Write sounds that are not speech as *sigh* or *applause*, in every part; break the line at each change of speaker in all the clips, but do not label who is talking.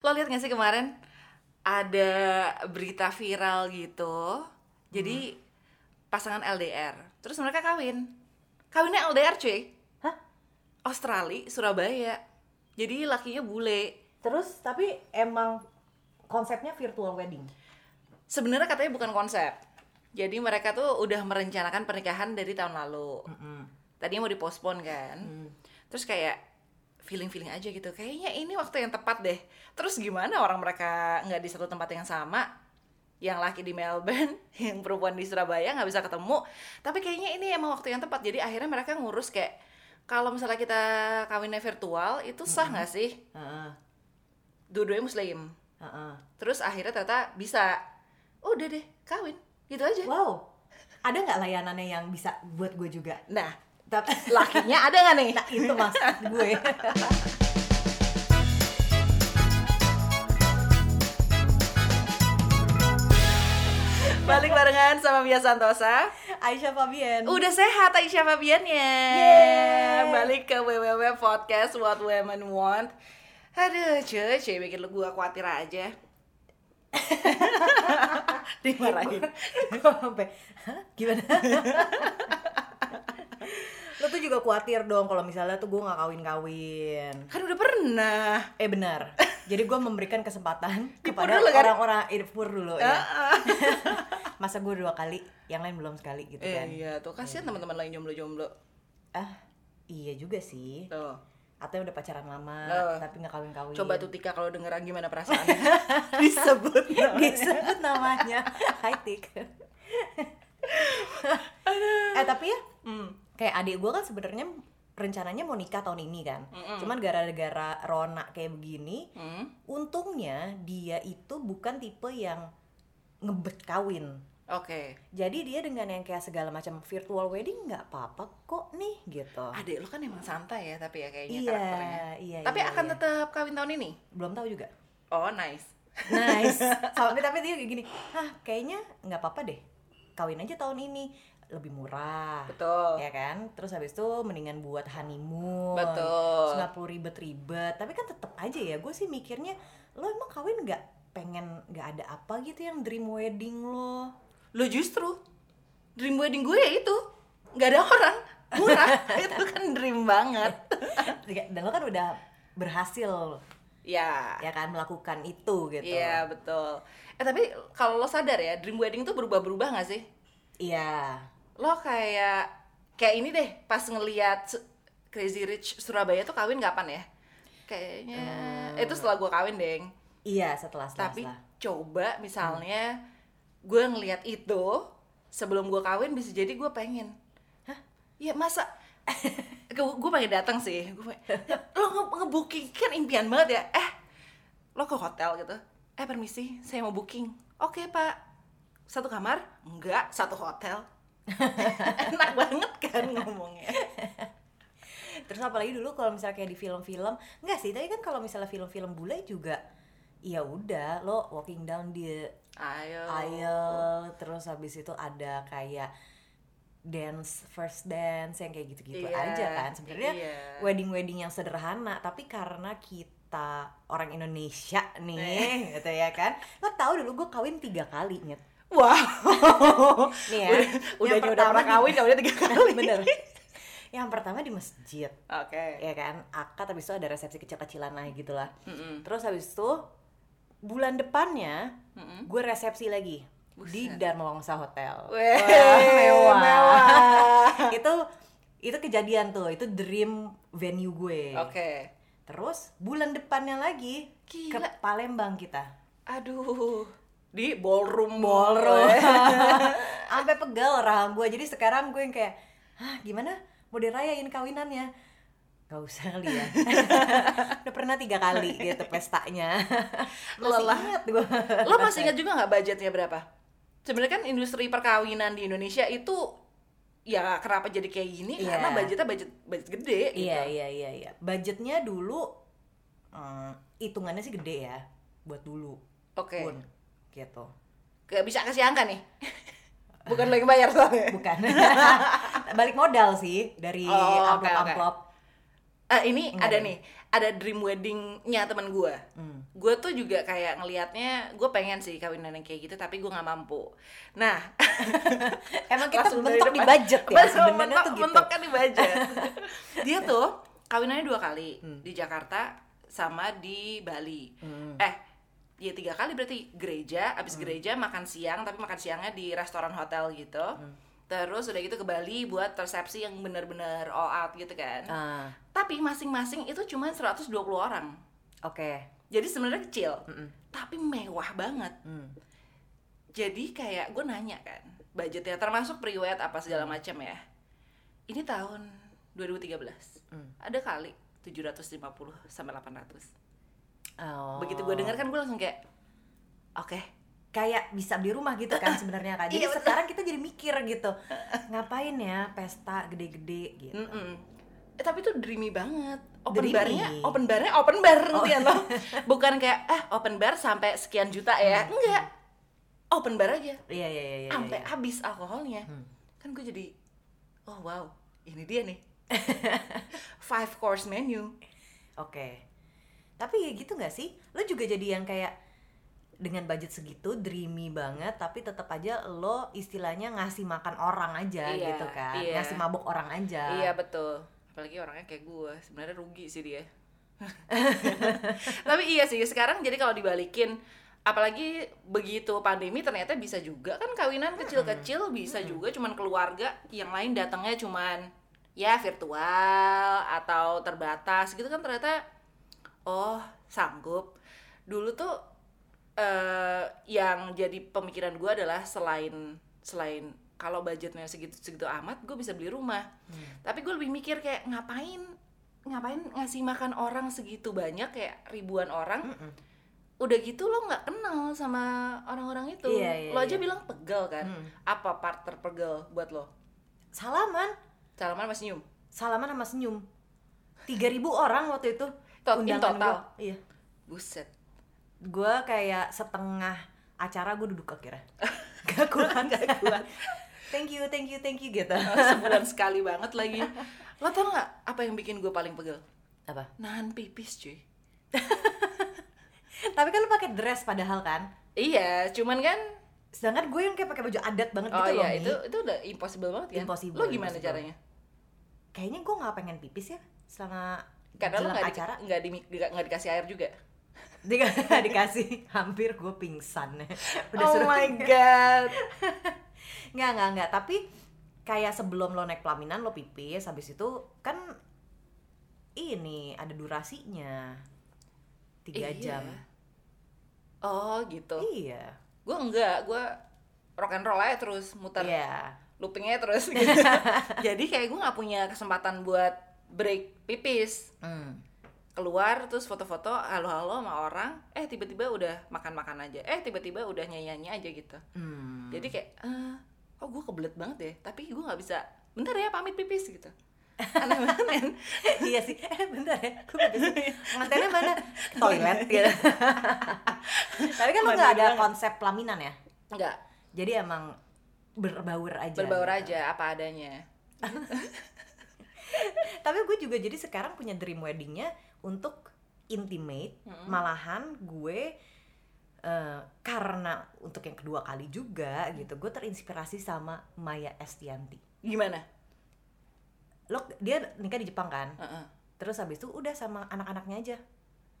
lo lihat gak sih kemarin ada berita viral gitu jadi pasangan LDR terus mereka kawin kawinnya LDR cuy
Hah?
Australia Surabaya jadi lakinya bule
Terus tapi emang konsepnya virtual wedding.
sebenarnya katanya bukan konsep jadi mereka tuh udah merencanakan pernikahan dari tahun lalu tadinya mau dipospon kan terus kayak feeling feeling aja gitu kayaknya ini waktu yang tepat deh terus gimana orang mereka nggak di satu tempat yang sama yang laki di Melbourne *laughs* yang perempuan di Surabaya nggak bisa ketemu tapi kayaknya ini emang waktu yang tepat jadi akhirnya mereka ngurus kayak kalau misalnya kita kawinnya virtual itu sah nggak sih
Heeh,
dua-duanya muslim
heeh.
terus akhirnya ternyata bisa udah deh kawin gitu aja
Wow. Ada nggak layanannya yang bisa buat gue juga?
nah *laughs*
Tapi
lakinya ada nggak nih
nah, itu maksud gue. *laughs*
balik barengan sama Mia Santosa
Aisyah Fabian.
Udah sehat Aisyah Fabiannya
Yeay.
Balik ke www podcast What Women Want Aduh cuy, cuy bikin lu gua khawatir aja Dimarahin
*laughs* Gua sampai "Hah? gimana *laughs* lo tuh juga khawatir dong kalau misalnya tuh gue nggak kawin kawin
Kan udah pernah
eh benar jadi gue memberikan
*laughs*
kesempatan
Dipur
kepada
dulu kan?
orang-orang irpur dulu
Iya. Ah,
ya
*laughs*
masa gue dua kali yang lain belum sekali gitu
Eh,
kan
Iya tuh, kasihan teman-teman lain jomblo-jomblo
ah iya juga sih
Tuh
atau yang udah pacaran lama
Oh.
tapi nggak kawin kawin
Coba
*laughs*
tuh *laughs* Tika kalau dengeran gimana *laughs* perasaannya Disebut
disebut namanya *laughs* high tick eh tapi ya
Hmm.
kayak adik gue kan sebenarnya rencananya mau nikah tahun ini kan cuman gara-gara Rona kayak begini
Hmm.
untungnya dia itu bukan tipe yang ngebet kawin
Oke
jadi dia dengan yang kayak segala macam virtual wedding nggak apa-apa kok nih gitu
Adek lu kan emang santai ya tapi ya kayaknya
iya
karakternya
iya
Tapi
iya,
akan
iya.
tetap kawin tahun ini?
belum tahu juga
Oh nice
*laughs* nice sampai tapi dia kayak gini hah kayaknya nggak apa-apa deh kawin aja tahun ini lebih murah
Betul
ya kan terus habis itu mendingan buat honeymoon
Betul.
Terus nggak perlu ribet-ribet tapi kan tetap aja ya gue sih mikirnya lo emang kawin nggak pengen nggak ada apa gitu yang dream wedding lo
*laughs* lo justru dream wedding gue ya itu nggak ada orang murah *laughs* itu kan dream *laughs* banget
dan lo kan udah berhasil
ya
ya kan melakukan itu gitu
iya betul eh tapi kalau lo sadar ya dream wedding tuh berubah-berubah nggak sih
iya
lo kayak kayak ini deh pas ngelihat Su- Crazy Rich Surabaya tuh kawin kapan ya kayaknya eh,
Eh.
itu setelah gue kawin deng
iya setelah setelah,
tapi
setelah.
coba
Hmm.
misalnya gue ngelihat itu sebelum gue kawin bisa jadi gue pengen hah ya masa *laughs* gue pengen datang sih gue lo nge- ngebooking kan impian banget ya eh lo ke hotel gitu eh permisi saya mau booking oke pak satu kamar enggak satu hotel *laughs* enak banget kan ngomongnya
terus apalagi dulu kalau misalnya kayak di film-film nggak sih tapi kan kalau misalnya film-film bule juga ya udah lo walking down di
ayo
aisle terus habis itu ada kayak dance first dance yang kayak gitu-gitu
Iya,
aja kan sebenarnya
iya.
wedding-wedding yang sederhana tapi karena kita orang Indonesia
Eh.
nih gitu ya kan lo tau dulu gue kawin tiga kali nyet
wow
nih ya
udah udah udah
yang
pernah
pertama
kawin
di-
udah tiga kali
*laughs* bener yang pertama di masjid
oke
ya kan akad habis itu ada resepsi kecil-kecilan lah gitulah
Mm-mm.
terus habis itu bulan depannya
Mm-mm.
gue resepsi lagi di Dharma Wangsa Hotel
Weh,
Wah,
mewah.
*laughs* itu itu kejadian tuh itu dream venue gue
Oke.
terus bulan depannya lagi ke
Gila.
Palembang kita
Aduh. Di ballroom
ballroom sampai pegel rahang gue jadi sekarang gue yang kayak hah gimana mau dirayain kawinannya gak usah kali
*laughs*
ya udah pernah tiga kali gitu
*laughs*
pestanya masih
Lelah. Gitu.
ingat
*laughs*
gue
*laughs* Lo masih ingat juga nggak budgetnya berapa? Sebenarnya kan industri perkawinan di Indonesia itu ya kenapa jadi kayak gini
Iya.
karena budgetnya budget budget gede gitu.
iya iya iya iya budgetnya dulu mm, hitungannya sih gede ya buat dulu
Oke.
pun gitu
Gak bisa kasih angka nih. *laughs* Bukan lo yang bayar
*laughs*
soalnya.
bukan balik modal sih dari
Oh, oke,
amplop amplop
Eh, ini ada nih, ada dream weddingnya teman gue.
Hmm.
Gue tuh juga kayak ngelihatnya, gue pengen sih kawinan yang kayak gitu, tapi gue nggak mampu. Nah,
*laughs* Emang kita
langsung dari
mentok di
depan.
budget ya
Betul,
sebenarnya
mentok,
tuh gitu.
mentok kan di
*laughs*
budget. Dia tuh kawinannya dua kali
Hmm.
di Jakarta sama di Bali. Eh, dia tiga kali berarti gereja, abis
Hmm.
gereja makan siang, tapi makan siangnya di restoran hotel gitu.
Hmm.
Terus udah gitu ke Bali buat resepsi yang bener-bener all out gitu kan.
Ah,
Tapi masing-masing itu cuma 120 orang.
oke.
Jadi sebenarnya kecil,
Mm-mm.
tapi mewah banget
Hmm.
jadi kayak gue nanya kan budgetnya termasuk priwet apa segala
Mm.
macam ya ini tahun 2013
Hmm.
ada kali 750 sampai 800
Oh.
begitu gue dengar kan gue langsung kayak oke
kayak bisa beli rumah gitu
*laughs*
kan sebenarnya kan. Jadi
Iya, betul.
sekarang kita jadi mikir
*laughs*
gitu. Ngapain ya pesta gede-gede gitu.
mm-mm." Eh, tapi itu dreamy banget open
Dreamy. Oh.
barnya open barnya open bar ngerti kan lo
*laughs*
bukan kayak eh open bar sampai sekian juta ya enggak open bar aja
Iya iya iya iya.
Hmm. sampai
iya.
habis alkoholnya
Hmm.
kan gue jadi oh wow ini dia nih *laughs* five course menu
Oke. Tapi ya gitu nggak sih? Lo juga jadi yang kayak dengan budget segitu dreamy banget tapi tetap aja lo istilahnya ngasih makan orang aja
Iya,
gitu kan.
iya.
Ngasih mabuk orang aja.
Iya betul. Apalagi orangnya kayak gue, sebenarnya rugi sih dia. Tapi iya sih, sekarang jadi kalau dibalikin, apalagi begitu pandemi ternyata bisa juga kan kawinan kecil-kecil bisa juga cuman keluarga yang lain datangnya cuman ya virtual atau terbatas gitu kan ternyata oh sanggup. Dulu tuh eh yang jadi pemikiran gue adalah selain selain kalau budgetnya segitu segitu amat gue bisa beli rumah tapi gue lebih mikir kayak ngapain ngapain ngasih makan orang segitu banyak kayak ribuan orang
Mm-mm.
udah gitu lo nggak kenal sama orang-orang itu
Iya, iya,
lo aja
iya.
bilang pegel kan
Hmm.
apa part terpegel buat lo
Salaman,
salaman mas senyum
salaman sama senyum. 3000 orang waktu itu
Tot- in total?
gua. Iya.
buset
*laughs* gue kayak setengah acara gue duduk
*laughs*
akhirnya gak kuat gak kuat thank you thank you thank you gitu
sebulan sekali banget lagi lo tau nggak apa yang bikin gue paling pegel
apa
nahan pipis cuy
tapi kan lu pakai dress padahal kan
iya cuman kan
sedangkan gue yang kayak pakai baju adat banget
oh
gitu loh
iya
Mi.
itu itu udah impossible banget kan
Impossible,
lo gimana
impossible.
caranya
kayaknya gue nggak pengen pipis ya selama
karena lo
jelang
nggak
acara
di, nggak di- nggak dikasih air juga
Di- *laughs* dikasih hampir gue
*laughs*
pingsan
oh
suruh
my
tinggal.
god
Nggak, nggak, nggak. Tapi kayak sebelum lo naik pelaminan lo pipis, habis itu kan ini ada durasinya tiga
Iya.
jam.
Oh gitu.
Iya.
Gue enggak, gue rock and roll aja terus muter
Iya.
loopingnya
*laughs*
terus gitu. Jadi kayak gue nggak punya kesempatan buat break pipis
Hmm.
keluar terus foto-foto halo-halo sama orang eh tiba-tiba udah makan-makan aja eh tiba-tiba udah nyanyi-nyanyi aja gitu
Hmm.
jadi kayak eh, oh gue kebelet banget deh tapi gue nggak bisa bentar ya pamit pipis
*laughs*
gitu aneh banget men.
*laughs* iya sih. Eh, bentar ya. Gue pipis. Mantannya mana? Ke *laughs* Toilet gitu. Tapi kan lo nggak ada konsep pelaminan ya.
nggak
Jadi emang berbaur aja.
berbaur
gitu.
aja apa adanya
Tapi gue juga jadi sekarang punya dream weddingnya untuk intimate, malahan gue eh, karena untuk yang kedua kali juga gitu, gue terinspirasi sama Maya Estianti.
gimana
Lo dia nikah di Jepang kan,
Heeh.
terus habis itu udah sama anak-anaknya aja.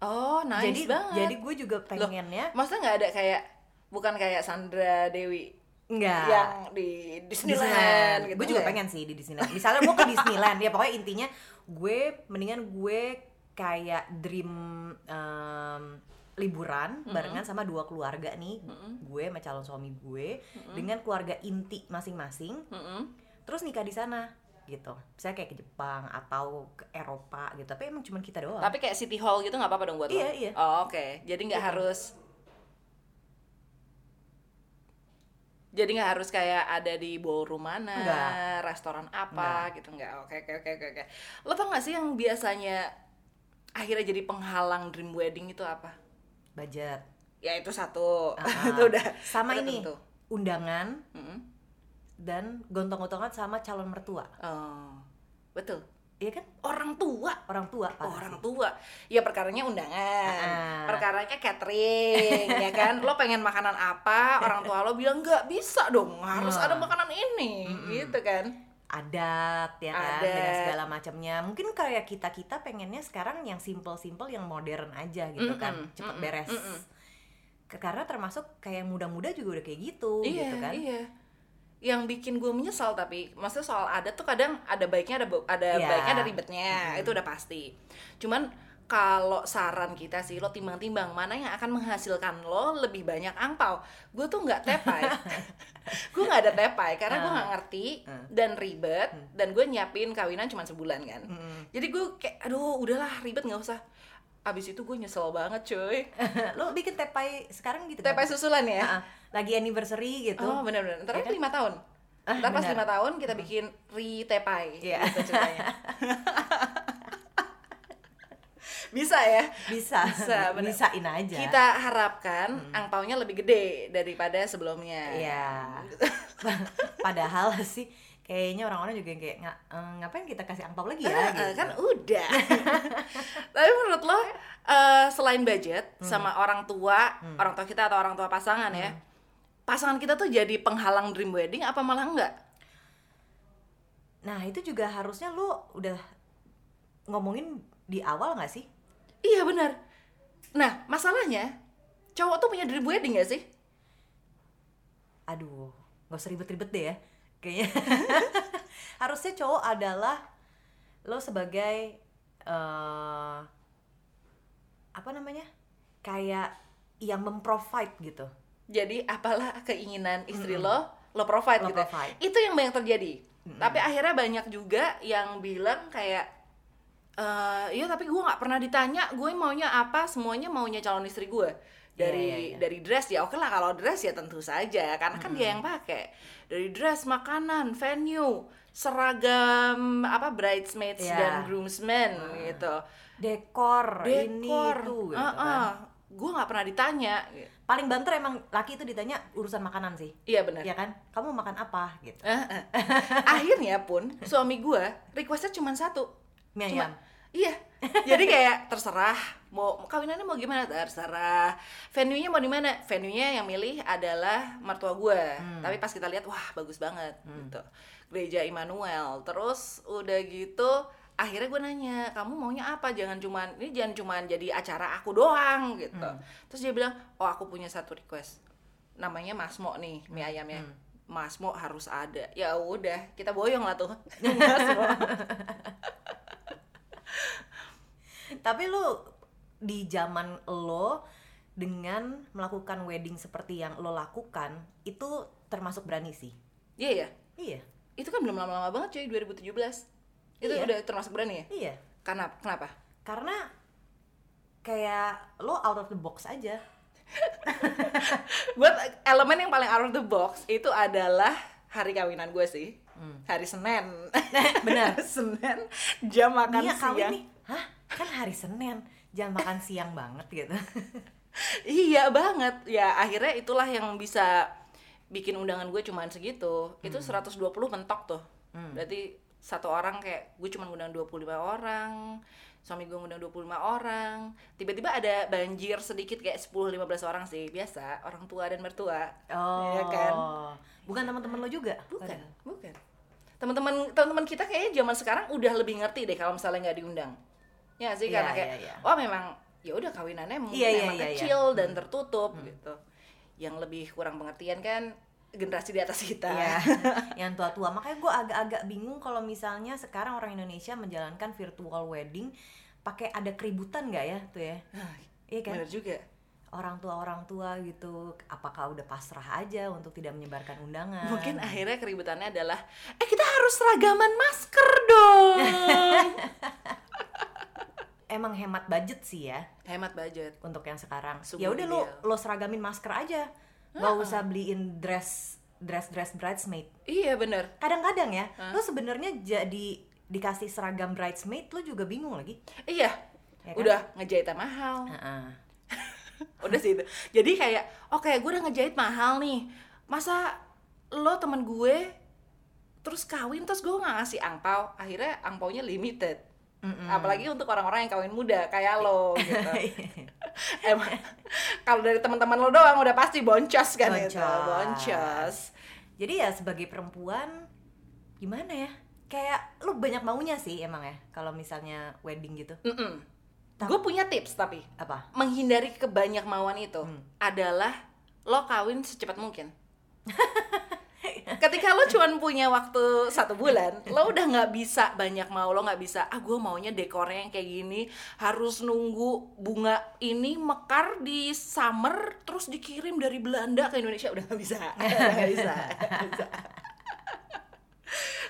oh nice
jadi
banget
jadi gue juga pengennya
Maksudnya nggak ada kayak bukan kayak Sandra Dewi
enggak.
yang di Iya, Disneyland, gitu.
gue Ya. juga
nggak ya?
pengen sih di Disneyland. Misalnya gue ke Disneyland, ya pokoknya intinya gue mendingan gue kayak dream em, liburan barengan sama dua keluarga nih, gue sama calon suami gue dengan keluarga inti masing-masing,
Mm-mm.
terus nikah di sana gitu. Misalnya kayak ke Jepang atau ke Eropa gitu, tapi emang cuman kita doang.
Tapi kayak City Hall gitu nggak apa-apa dong buat lo?
Iya, iya.
Oh, oke. Jadi nggak harus Jadi nggak harus kayak ada di ballroom mana,
Nggak.
restoran apa gitu nggak? Oke oke oke oke oke. Lo tau nggak sih yang biasanya akhirnya jadi penghalang dream wedding itu apa? *laughs*
Budget.
Ya itu satu,
Ah.
*laughs* itu udah
sama
udah
ini
tentu.
undangan
Mm-mm.
dan gontong-gontongan sama calon mertua.
Oh, betul.
Iya kan?
orang tua
Orang tua parah
orang
sih.
tua ya perkaranya undangan
Ah.
perkaranya catering ya kan lo pengen makanan apa orang tua lo bilang nggak bisa dong harus
Ah.
ada makanan ini gitu kan
adat ya kan dengan
Adat.
segala macamnya. Mungkin kayak kita-kita pengennya sekarang yang simple-simple yang modern aja gitu kan,
Mm-mm, mm-mm,
cepet beres.
mm-mm.
Ke- Karena termasuk kayak muda-muda juga udah kayak gitu
iya
gitu kan.
iya yang bikin gue menyesal tapi maksudnya soal adat tuh kadang ada baiknya ada bu- ada
Iya.
baiknya ada ribetnya itu udah pasti cuman kalau saran kita sih lo timbang-timbang mana yang akan menghasilkan lo lebih banyak angpau gue tuh nggak
*laughs*
tepai gue nggak ada tepai karena gue nggak ngerti
Ah.
dan ribet dan gue nyiapin kawinan cuma sebulan kan
Mm-mm.
jadi gue kayak aduh udahlah ribet nggak usah abis itu gue nyesel banget cuy
Lo bikin tepai sekarang gitu.
tepai
kan?
susulan ya
Ah, ah. lagi anniversary gitu.
Oh benar-benar. Ntar
Ya
kan
kan?
lima tahun. Ntar pas
benar.
lima tahun kita bikin ritepai
Iya.
gitu
*laughs*
ceritanya. Bisa ya.
Bisa. *laughs*
Bisa, bener.
Bisain aja.
Kita harapkan angpaunya lebih gede daripada sebelumnya.
Hmm.
*laughs*
Iya. Padahal sih kayaknya orang-orang juga yang kayak "Nga- eh, ngapain kita kasih angpau lagi ya
Ah,
gitu.
kan udah.
*laughs*
Tapi menurut lo eh, selain budget
Hmm.
sama orang tua, orang tua kita atau orang tua pasangan ya. Pasangan kita tuh jadi penghalang dream wedding apa malah enggak?
Nah itu juga harusnya lu udah ngomongin di awal nggak sih?
Iya benar. Nah, masalahnya cowok tuh punya dream wedding gak sih?
Aduh, nggak usah ribet-ribet deh ya.
*laughs*
Kayaknya harusnya cowok adalah lo sebagai eh apa namanya kayak yang memprovide gitu.
Jadi apalah keinginan istri lo, lo provide
Lo
gitu.
provide.
Itu yang banyak terjadi. Tapi akhirnya banyak juga yang bilang kayak eh iya tapi gue nggak pernah ditanya gue maunya apa semuanya maunya calon istri gue dari
Iya, iya, iya.
dari dress ya oke lah kalau dress ya tentu saja karena kan dia yang pakai dari dress makanan venue seragam apa bridesmaids
Iya.
dan groomsmen gitu
Dekor, ini
dekor
itu
eh,
gitu kan. Iya.
eh, gue nggak pernah ditanya
Paling banter emang laki itu ditanya urusan makanan sih.
iya benar
Iya kan? Kamu makan apa gitu.
Eh, eh. *laughs* akhirnya pun suami gue requestnya cuma satu
Mie
Cuma-
ayam.
iya jadi kayak terserah mau kawinannya mau gimana terserah venue nya mau di mana venue nya yang milih adalah mertua gue tapi pas kita lihat wah bagus banget gitu gereja Immanuel terus udah gitu akhirnya gue nanya kamu maunya apa jangan cuman ini jangan cuman jadi acara aku doang gitu terus dia bilang oh aku punya satu request namanya Masmo nih mie ayamnya Masmo harus ada ya udah kita boyong lah tuh *laughs* Masmo
Tapi lu di zaman lo dengan melakukan wedding seperti yang lo lakukan itu termasuk berani sih.
iya ya
Iya,
itu kan belum lama-lama banget cuy 2017 itu
Iya.
udah termasuk berani ya
iya.
karena kenapa
Karena kayak lo out of the box
*laughs*
aja.
buat elemen yang paling out of the box itu adalah hari kawinan gue sih
Hmm.
hari Senin *laughs*
Benar.
Senin jam makan
*laughs* Nia
siang
kawin nih. Hah? Kan hari Senin, jam makan siang banget gitu.
*laughs* iya banget ya akhirnya itulah yang bisa bikin undangan gue cuman segitu itu 120 mentok tuh berarti satu orang kayak gue cuma ngundang 25 orang suami gue ngundang 25 orang tiba-tiba ada banjir sedikit kayak 10-15 orang sih biasa orang tua dan mertua
Oh.
*laughs* Iya kan?
Bukan teman-teman lo juga?
bukan
Padahal.
bukan teman-teman teman-teman kita kayaknya zaman sekarang udah lebih ngerti deh kalau misalnya nggak diundang ya sih karena
Iya,
kayak
iya, iya.
oh memang ya udah kawinannya mungkin
Iya, iya,
emang
iya, Hmm. iya.
kecil dan tertutup gitu yang lebih kurang pengertian kan generasi di atas kita
Iya, *laughs*
*laughs*
yang tua-tua. Makanya gue agak-agak bingung kalau misalnya sekarang orang Indonesia menjalankan virtual wedding pakai ada keributan nggak ya tuh ya?
Hah,
Iya kan?
bener juga
Orang tua orang tua gitu, apakah udah pasrah aja untuk tidak menyebarkan
Ah.
undangan?
mungkin akhirnya keributannya adalah eh kita harus seragaman masker
*laughs*
dong
emang hemat budget sih ya
hemat budget
untuk yang sekarang.
Sungguh
Ya udah lo
ideal.
lo seragamin masker aja, nggak usah beliin dress dress dress bridesmaid.
iya bener
Kadang-kadang ya, lo sebenarnya jadi dikasih seragam bridesmaid lo juga bingung lagi.
iya
Ya kan?
udah ngejahitnya mahal
Heeh.
udah sih itu jadi kayak oke gue udah ngejahit mahal nih masa lo temen gue terus kawin terus gue nggak ngasih angpau akhirnya angpaunya limited
Hmm.
apalagi untuk orang-orang yang kawin muda kayak lo
Nah,
*laughs* gitu
*laughs*
emang kalau dari teman-teman lo doang udah pasti boncos kan itu
Boncos.
boncos
Jadi ya sebagai perempuan gimana ya? Kayak lu banyak maunya sih emang ya kalau misalnya wedding gitu.
gue punya tips tapi
Apa?
menghindari kebanyakan itu
Hmm.
adalah lo kawin secepat mungkin. Ketika lo cuman punya waktu satu bulan, lo udah nggak bisa banyak mau, lo nggak bisa. Ah, gue maunya dekornya yang kayak gini, harus nunggu bunga ini mekar di summer, terus dikirim dari Belanda ke Indonesia udah nggak bisa, *laughs* Udah nggak bisa. nggak bisa.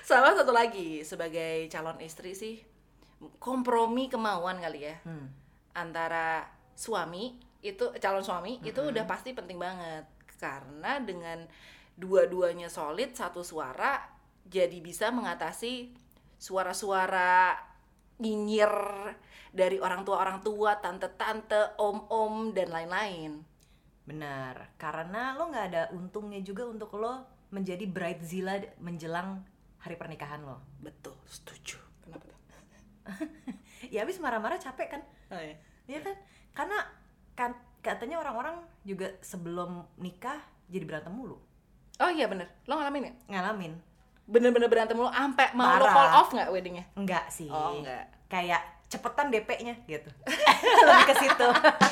Sama satu lagi sebagai calon istri sih, kompromi kemauan kali ya
Hmm.
antara suami itu calon suami itu udah pasti penting banget karena dengan dua-duanya solid satu suara jadi bisa mengatasi suara-suara nyinyir dari orang tua orang tua tante-tante om-om dan lain-lain
Benar. Karena lo nggak ada untungnya juga untuk lo menjadi bridezilla menjelang hari pernikahan lo.
betul setuju kenapa tuh
Ya abis marah-marah capek kan?
oh, iya.
Iya kan? Karena kan- katanya orang-orang juga sebelum nikah jadi berantem mulu.
oh iya bener lo ngalamin ya
Ngalamin?
bener-bener berantem lo ampe mau lo
Parah.
call off nggak weddingnya
Enggak sih.
Oh, enggak.
Kayak cepetan DP-nya gitu. *laughs* Lebih ke situ.